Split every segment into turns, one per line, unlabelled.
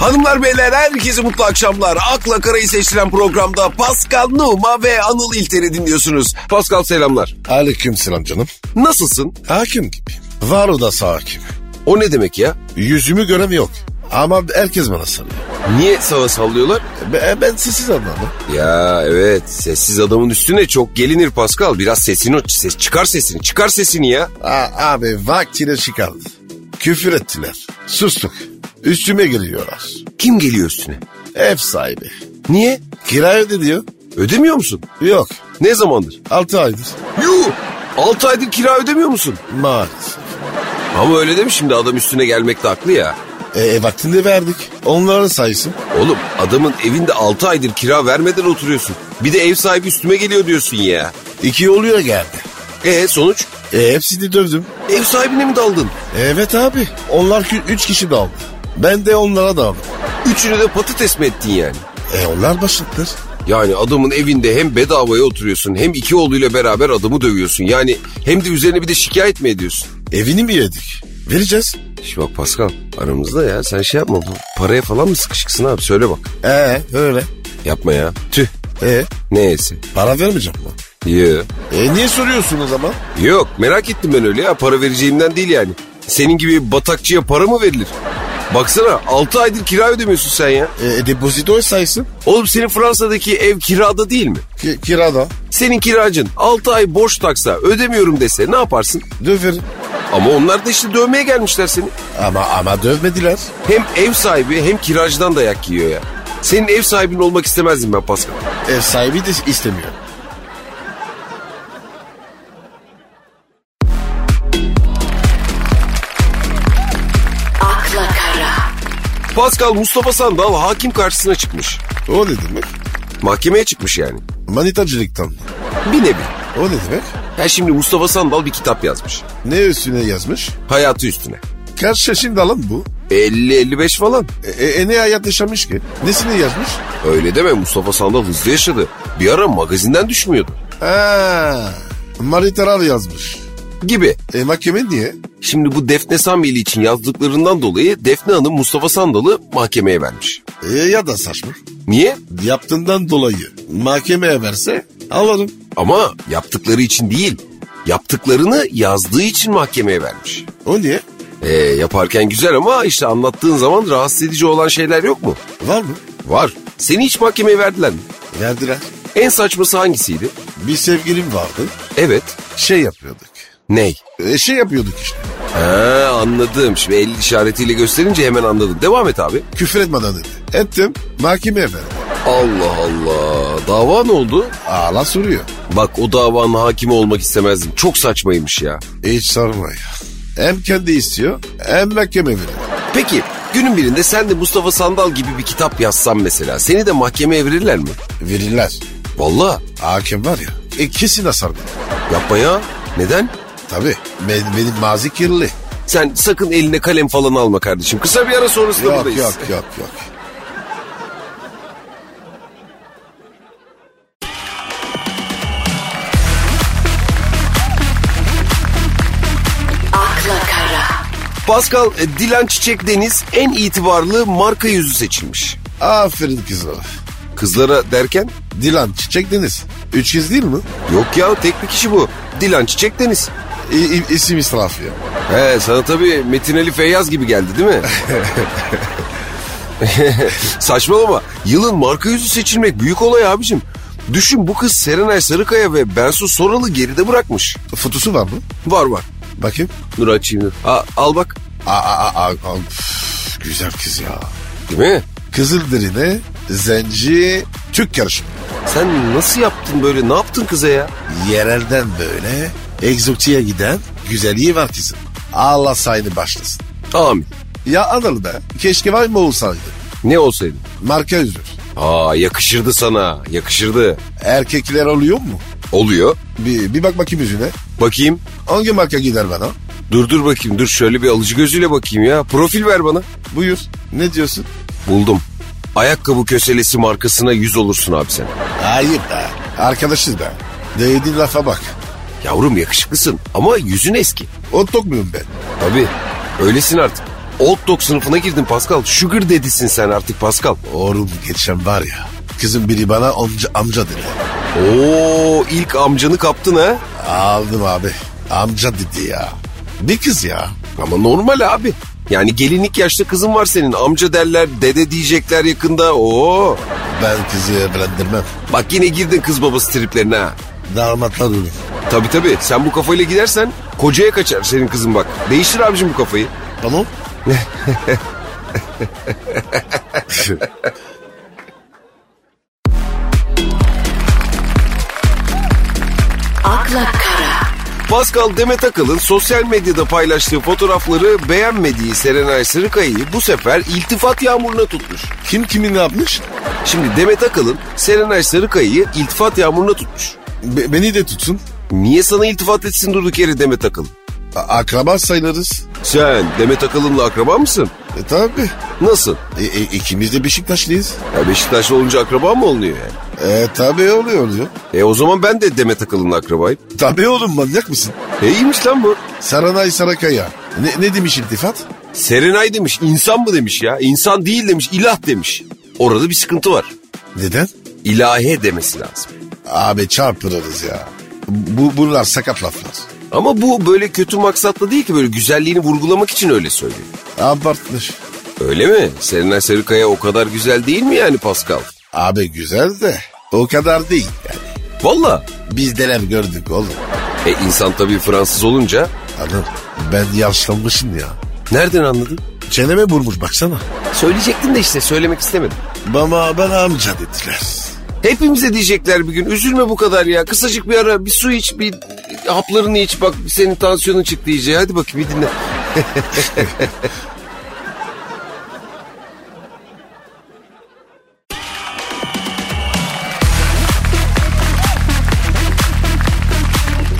Hanımlar beyler herkese mutlu akşamlar. Akla Karayı seçtiren programda Pascal Numa ve Anıl İlter'i dinliyorsunuz. Pascal selamlar.
Aleyküm selam canım.
Nasılsın?
Hakim gibi. Var odası hakim.
O ne demek ya?
Yüzümü gören yok. Ama herkes bana sarıyor.
Niye sağa sallıyorlar?
Ben, ben sessiz anladım.
Ya evet sessiz adamın üstüne çok gelinir Pascal. Biraz sesini ses çıkar sesini çıkar sesini ya.
Aa, abi vaktiyle çıkardı. Küfür ettiler. Sustuk. Üstüme geliyorlar.
Kim geliyor üstüne?
Ev sahibi.
Niye?
Kira ödüyor.
Ödemiyor musun?
Yok.
Ne zamandır?
6 aydır.
Yuh! 6 aydır kira ödemiyor musun?
Maalesef.
Ama öyle demiş şimdi adam üstüne gelmek de haklı ya.
E, e, vaktinde verdik. Onların sayısın.
Oğlum adamın evinde 6 aydır kira vermeden oturuyorsun. Bir de ev sahibi üstüme geliyor diyorsun ya.
İki oluyor geldi.
E sonuç?
E, hepsini dövdüm.
Ev sahibine mi daldın?
Evet abi. Onlar kü- üç kişi daldı. Ben de onlara daldım.
Üçünü de patates mi ettin yani?
E onlar başlıktır.
Yani adamın evinde hem bedavaya oturuyorsun hem iki oğluyla beraber adamı dövüyorsun. Yani hem de üzerine bir de şikayet mi ediyorsun?
Evini mi yedik? Vereceğiz.
Şimdi bak Pascal aramızda ya sen şey yapma bu paraya falan mı sıkışıksın abi söyle bak.
Ee öyle.
Yapma ya. Tüh
E
neyse.
para vermeyeceğim mi?
Yo.
E niye soruyorsun o zaman?
Yok merak ettim ben öyle ya para vereceğimden değil yani. Senin gibi batakçıya para mı verilir? Baksana 6 aydır kira ödemiyorsun sen ya.
E depozito saysın.
Oğlum senin Fransa'daki ev kirada değil mi?
Ki, kirada.
Senin kiracın 6 ay borç taksa ödemiyorum dese ne yaparsın?
Döverim.
Ama onlar da işte dövmeye gelmişler seni.
Ama ama dövmediler.
Hem ev sahibi hem kiracıdan dayak yiyor ya. Senin ev sahibin olmak istemezdim ben Pascal.
Ev sahibi de istemiyor.
akla kara,
Pascal Mustafa Sandal hakim karşısına çıkmış.
O ne demek?
Mahkemeye çıkmış yani.
Manitacılıktan.
Bir nevi.
O ne demek?
Ya şimdi Mustafa Sandal bir kitap yazmış.
Ne üstüne yazmış?
Hayatı üstüne.
Kaç yaşında lan bu?
50-55 falan.
E, e, e, ne hayat yaşamış ki? Nesini yazmış?
Öyle deme Mustafa Sandal hızlı yaşadı. Bir ara magazinden düşmüyordu.
Ha, Maritaral yazmış.
Gibi.
E mahkeme niye?
Şimdi bu Defne Samyeli için yazdıklarından dolayı Defne Hanım Mustafa Sandal'ı mahkemeye vermiş.
E, ya da saçma.
Niye?
Yaptığından dolayı mahkemeye verse alırım.
Ama yaptıkları için değil. Yaptıklarını yazdığı için mahkemeye vermiş.
O niye?
Ee, yaparken güzel ama işte anlattığın zaman rahatsız edici olan şeyler yok mu?
Var mı?
Var. Seni hiç mahkemeye verdiler mi?
Verdiler.
En saçması hangisiydi?
Bir sevgilim vardı.
Evet.
Şey yapıyorduk.
Ney?
E, şey yapıyorduk işte.
Ha, anladım. Şimdi el işaretiyle gösterince hemen anladım. Devam et abi.
Küfür etmeden dedi. Ettim. Mahkemeye verdim.
Allah Allah. Dava ne oldu?
Ağla soruyor.
Bak o davanın hakimi olmak istemezdim. Çok saçmaymış ya.
Hiç sorma ya. Hem kendi istiyor hem mahkeme veriyor.
Peki günün birinde sen de Mustafa Sandal gibi bir kitap yazsan mesela. Seni de mahkemeye verirler mi?
Verirler.
Valla.
Hakim var ya. E kesin hasar dedi.
Yapma ya. Neden?
Tabii. Benim, benim mazi kirli.
Sen sakın eline kalem falan alma kardeşim. Kısa bir ara sonrasında
Yok
buradayız.
yok yok yok.
akla kara,
Pascal e, Dilan Çiçek Deniz en itibarlı marka yüzü seçilmiş.
Aferin kızlara.
Kızlara derken
Dilan Çiçek Deniz. Üç kız değil mi?
yok ya tek bir kişi bu. Dilan Çiçek Deniz.
İ, i- isim israfı ya.
He sana tabii Metin Ali Feyyaz gibi geldi değil mi? Saçmalama. Yılın marka yüzü seçilmek büyük olay abicim. Düşün bu kız Serenay Sarıkaya ve Bensu Soralı geride bırakmış.
Fotosu var mı?
Var var.
Bakayım.
Dur açayım. dur. Aa, al bak.
Aa, aa, aa, aa, üf, güzel kız ya.
Değil mi?
Kızılderine Zenci Türk yarışımı.
Sen nasıl yaptın böyle? Ne yaptın kıza ya?
Yerelden böyle egzotiğe giden güzelliği var kızın. Allah sayını başlasın.
Amin.
Ya Anıl be keşke var mı olsaydı.
Ne olsaydı?
Marka üzülür.
Aa yakışırdı sana. Yakışırdı.
Erkekler oluyor mu?
Oluyor.
Bir, bir bak bakayım yüzüne.
Bakayım.
Hangi marka gider bana?
Dur dur bakayım. Dur şöyle bir alıcı gözüyle bakayım ya. Profil ver bana.
Buyur. Ne diyorsun?
Buldum. Ayakkabı köselesi markasına yüz olursun abi sen.
Hayır be. Arkadaşız be. Değdiğin lafa bak.
Yavrum yakışıklısın ama yüzün eski.
Otluk muyum ben?
Tabii. Öylesin artık. Old Dog sınıfına girdin Pascal. Sugar dedisin sen artık Pascal.
Oğlum geçen var ya. Kızım biri bana amca, amca dedi.
Oo ilk amcanı kaptın ha.
Aldım abi. Amca dedi ya. Ne kız ya?
Ama normal abi. Yani gelinlik yaşta kızın var senin. Amca derler, dede diyecekler yakında. Oo.
Ben kızı evlendirmem.
Bak yine girdin kız babası triplerine ha.
Damatla durun.
Tabii tabii. Sen bu kafayla gidersen kocaya kaçar senin kızın bak. Değiştir abicim bu kafayı.
Tamam.
akla kara,
Pascal Demet Akalın sosyal medyada paylaştığı fotoğrafları beğenmediği Serenay Sırıkaya'yı bu sefer iltifat yağmuruna tutmuş.
Kim kimin ne yapmış?
Şimdi Demet Akalın Serenay Sarıkaya'yı iltifat yağmuruna tutmuş.
Be- beni de tutsun.
Niye sana iltifat etsin durduk yere Demet Akalın?
A- akraba sayılırız.
Sen Demet Akalın'la akraba mısın?
E tabi.
Nasıl?
E, e, ikimiz de Beşiktaşlıyız.
Ya Beşiktaşlı olunca akraba mı oluyor yani?
E tabi oluyor oluyor.
E o zaman ben de Demet Akalın'la akrabayım.
Tabi oğlum manyak mısın?
E iyiymiş lan bu.
Saranay Sarakaya. Ne, ne demiş iltifat?
Serenay demiş insan mı demiş ya? İnsan değil demiş ilah demiş. Orada bir sıkıntı var.
Neden?
İlahe demesi lazım.
Abi çarpırırız ya. Bu, bunlar sakat laflar.
Ama bu böyle kötü maksatla değil ki böyle güzelliğini vurgulamak için öyle söylüyor.
Abartmış.
Öyle mi? Serenay Sarıkaya o kadar güzel değil mi yani Pascal?
Abi güzel de o kadar değil yani.
Valla.
Biz neler gördük oğlum.
E insan tabii Fransız olunca
Adam ben yaşlanmışım ya.
nereden anladın?
Çeneme vurmuş baksana.
Söyleyecektim de işte söylemek istemedim.
Bana ben amca dediler.
Hepimize diyecekler bir gün üzülme bu kadar ya. Kısacık bir ara bir su iç bir haplarını iç bak senin tansiyonun çıktı iyice. Hadi bakayım bir dinle.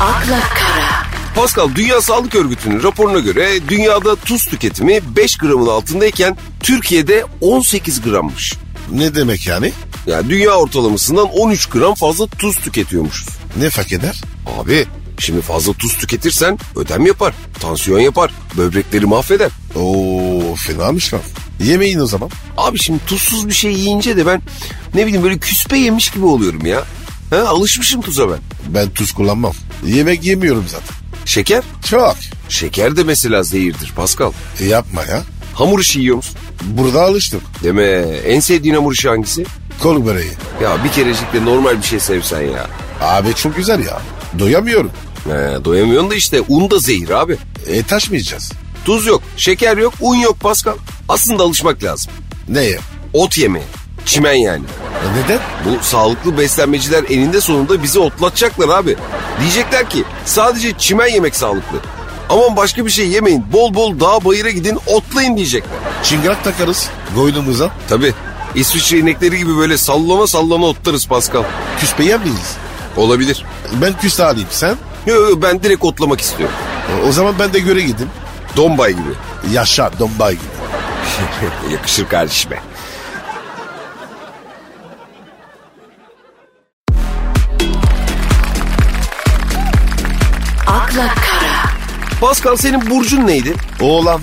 akla kara,
Pascal Dünya Sağlık Örgütü'nün raporuna göre dünyada tuz tüketimi 5 gramın altındayken Türkiye'de 18 grammış.
Ne demek yani?
Yani dünya ortalamasından 13 gram fazla tuz tüketiyormuşuz.
Ne fark eder?
Abi şimdi fazla tuz tüketirsen ödem yapar, tansiyon yapar, böbrekleri mahveder.
Oo fenamış lan. Yemeyin o zaman.
Abi şimdi tuzsuz bir şey yiyince de ben ne bileyim böyle küspe yemiş gibi oluyorum ya. He, alışmışım tuza ben.
Ben tuz kullanmam. Yemek yemiyorum zaten.
Şeker?
Çok.
Şeker de mesela zehirdir Pascal.
E, yapma ya.
Hamur işi yiyor musun?
Burada alıştım.
Deme en sevdiğin hamur işi hangisi?
Kol böreği.
Ya bir kerecik de normal bir şey sevsen ya.
Abi çok güzel ya. Doyamıyorum.
He, doyamıyorsun da işte un da zehir abi.
E taşmayacağız.
Tuz yok, şeker yok, un yok Pascal. Aslında alışmak lazım.
Neye?
Ot yemeye, çimen yani.
E, Neden?
Bu sağlıklı beslenmeciler eninde sonunda bizi otlatacaklar abi. Diyecekler ki sadece çimen yemek sağlıklı. Aman başka bir şey yemeyin. Bol bol dağ bayıra gidin otlayın diyecekler.
Çingrak takarız koynumuza.
Tabi İsviçre inekleri gibi böyle sallama sallama otlarız Pascal.
Küspe yemeyiz.
Olabilir.
Ben küste alayım sen.
Yo, yo, ben direkt otlamak istiyorum.
E, O zaman ben de göre gideyim.
Dombay gibi.
Yaşa dombay gibi.
Yakışır kardeşime.
akla kara,
Pascal senin burcun neydi?
Oğlan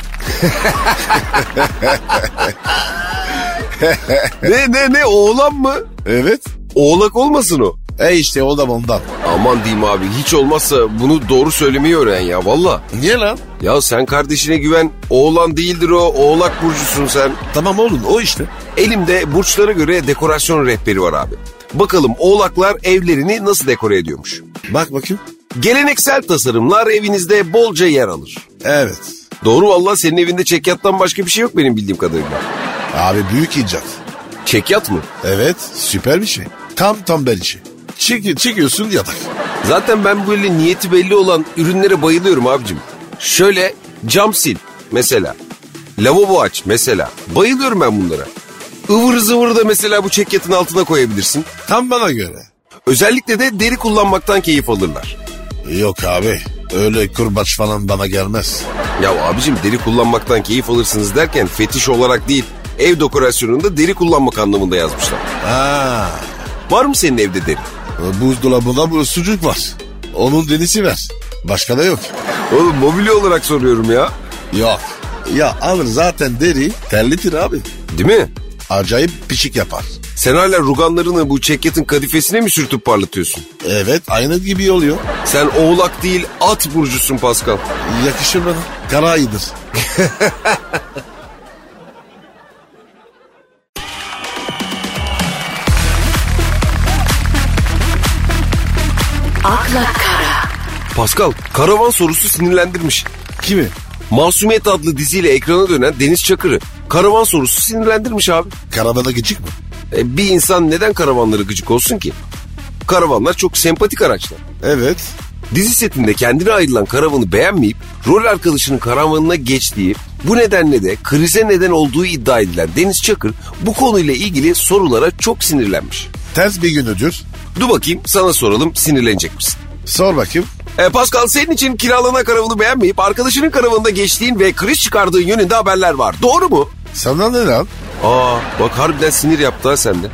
ne ne ne oğlan mı?
Evet.
Oğlak olmasın o.
E işte o da ondan.
Aman diyeyim abi hiç olmazsa bunu doğru söylemeyi öğren ya valla.
Niye lan?
Ya sen kardeşine güven. Oğlan değildir o. Oğlak burcusun sen.
Tamam oğlum o işte.
Elimde burçlara göre dekorasyon rehberi var abi. Bakalım oğlaklar evlerini nasıl dekore ediyormuş.
Bak bakayım.
Geleneksel tasarımlar evinizde bolca yer alır.
Evet.
Doğru valla senin evinde çekyattan başka bir şey yok benim bildiğim kadarıyla.
Abi büyük icat.
Çekyat mı?
Evet süper bir şey. Tam tam bir şey. Çek, çekiyorsun yatak.
Zaten ben böyle niyeti belli olan ürünlere bayılıyorum abicim. Şöyle cam sil mesela. Lavabo aç mesela. Bayılıyorum ben bunlara. Ivır zıvır da mesela bu çekyatın altına koyabilirsin.
Tam bana göre.
Özellikle de deri kullanmaktan keyif alırlar.
Yok abi öyle kurbaç falan bana gelmez.
Ya abicim deri kullanmaktan keyif alırsınız derken fetiş olarak değil, ev dekorasyonunda deri kullanmak anlamında yazmışlar.
Ha,
Var mı senin evde deri?
buzdolabında bu sucuk var. Onun denisi ver. Başka da yok.
Oğlum mobilya olarak soruyorum ya.
Yok. Ya alır zaten deri terlitir abi.
Değil mi?
Acayip pişik yapar.
Sen hala ruganlarını bu çeketin kadifesine mi sürtüp parlatıyorsun?
Evet aynı gibi oluyor.
Sen oğlak değil at burcusun Pascal.
Yakışır bana. Kara ayıdır.
akla kara,
Pascal karavan sorusu sinirlendirmiş.
Kimi?
Masumiyet adlı diziyle ekrana dönen Deniz Çakır'ı karavan sorusu sinirlendirmiş abi.
Karavana gıcık mı?
E, bir insan neden karavanlara gıcık olsun ki? Karavanlar çok sempatik araçlar.
Evet.
Dizi setinde kendine ayrılan karavanı beğenmeyip rol arkadaşının karavanına geçtiği bu nedenle de krize neden olduğu iddia edilen Deniz Çakır bu konuyla ilgili sorulara çok sinirlenmiş.
Ters bir günüdür.
Dur bakayım sana soralım sinirlenecek misin?
Sor bakayım.
E, Pascal senin için kiralanan karavanı beğenmeyip arkadaşının karavanında geçtiğin ve kriz çıkardığın yönünde haberler var. Doğru mu?
Sana ne lan?
Aa bak harbiden sinir yaptı ha sende.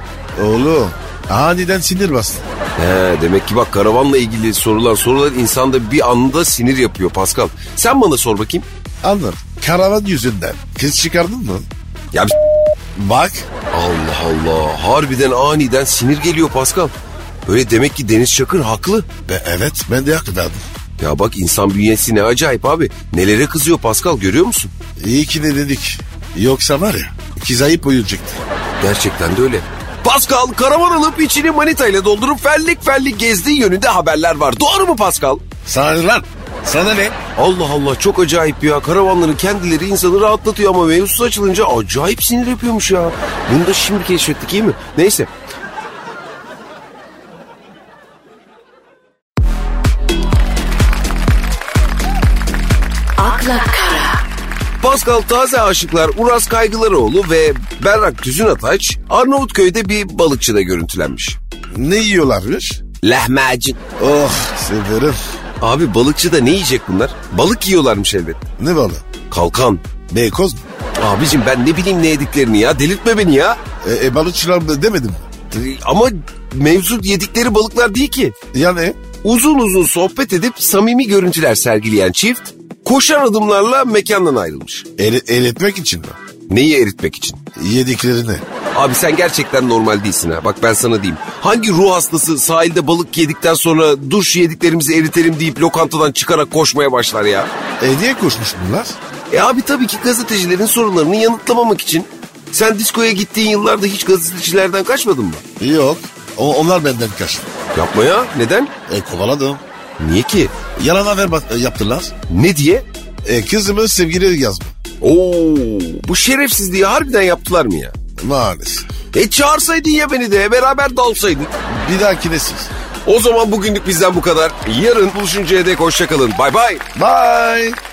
Oğlum aniden sinir bastı.
He, demek ki bak karavanla ilgili sorulan sorular insanda bir anda sinir yapıyor Pascal. Sen bana sor bakayım.
Anladım. Karavan yüzünden. Kız çıkardın mı?
Ya bir-
Bak.
Allah Allah harbiden aniden sinir geliyor Pascal. Öyle demek ki Deniz Çakır haklı.
Be, evet ben de hak verdim.
Ya bak insan bünyesi ne acayip abi. Nelere kızıyor Pascal görüyor musun?
İyi ki ne dedik. Yoksa var ya kız ayıp uyuyacaktı.
Gerçekten de öyle. Pascal karavan alıp içini manitayla doldurup fellik fellik gezdiği yönünde haberler var. Doğru mu Pascal?
Sana ne lan? Sana ne?
Allah Allah çok acayip ya. Karavanların kendileri insanı rahatlatıyor ama mevzusu açılınca acayip sinir yapıyormuş ya. Bunu da şimdi keşfettik iyi mi? Neyse.
akla kara,
Pascal Taze Aşıklar, Uras Kaygılaroğlu ve Berrak Düzün Ataç Arnavutköy'de bir balıkçıda görüntülenmiş.
Ne yiyorlarmış?
Lahmacun.
Oh severim.
Abi balıkçıda ne yiyecek bunlar? Balık yiyorlarmış elbet.
Ne balı?
Kalkan.
Beykoz mu?
Abicim ben ne bileyim ne yediklerini ya. Delirtme beni ya.
E, e balıkçılar mı demedim.
Ama mevzu yedikleri balıklar değil ki.
Yani
Uzun uzun sohbet edip samimi görüntüler sergileyen çift koşar adımlarla mekandan ayrılmış.
el, el etmek için mi?
Neyi eritmek için?
Yediklerini.
Abi sen gerçekten normal değilsin ha. Bak ben sana diyeyim. Hangi ruh hastası sahilde balık yedikten sonra dur şu yediklerimizi eritelim deyip lokantadan çıkarak koşmaya başlar ya?
E niye koşmuş bunlar?
E abi tabii ki gazetecilerin sorularını yanıtlamamak için. Sen diskoya gittiğin yıllarda hiç gazetecilerden kaçmadın mı?
Yok. O, onlar benden kaçtı.
Yapma ya. Neden?
E kovaladım.
Niye ki?
Yalan haber ba- yaptılar.
Ne diye?
E kızımın sevgili yazma.
Oo, bu şerefsizliği harbiden yaptılar mı ya?
Maalesef.
E çağırsaydın ya beni de beraber dalsaydın.
Bir dahakine siz.
O zaman bugünlük bizden bu kadar. Yarın buluşuncaya dek hoşçakalın. Bay bay.
Bye.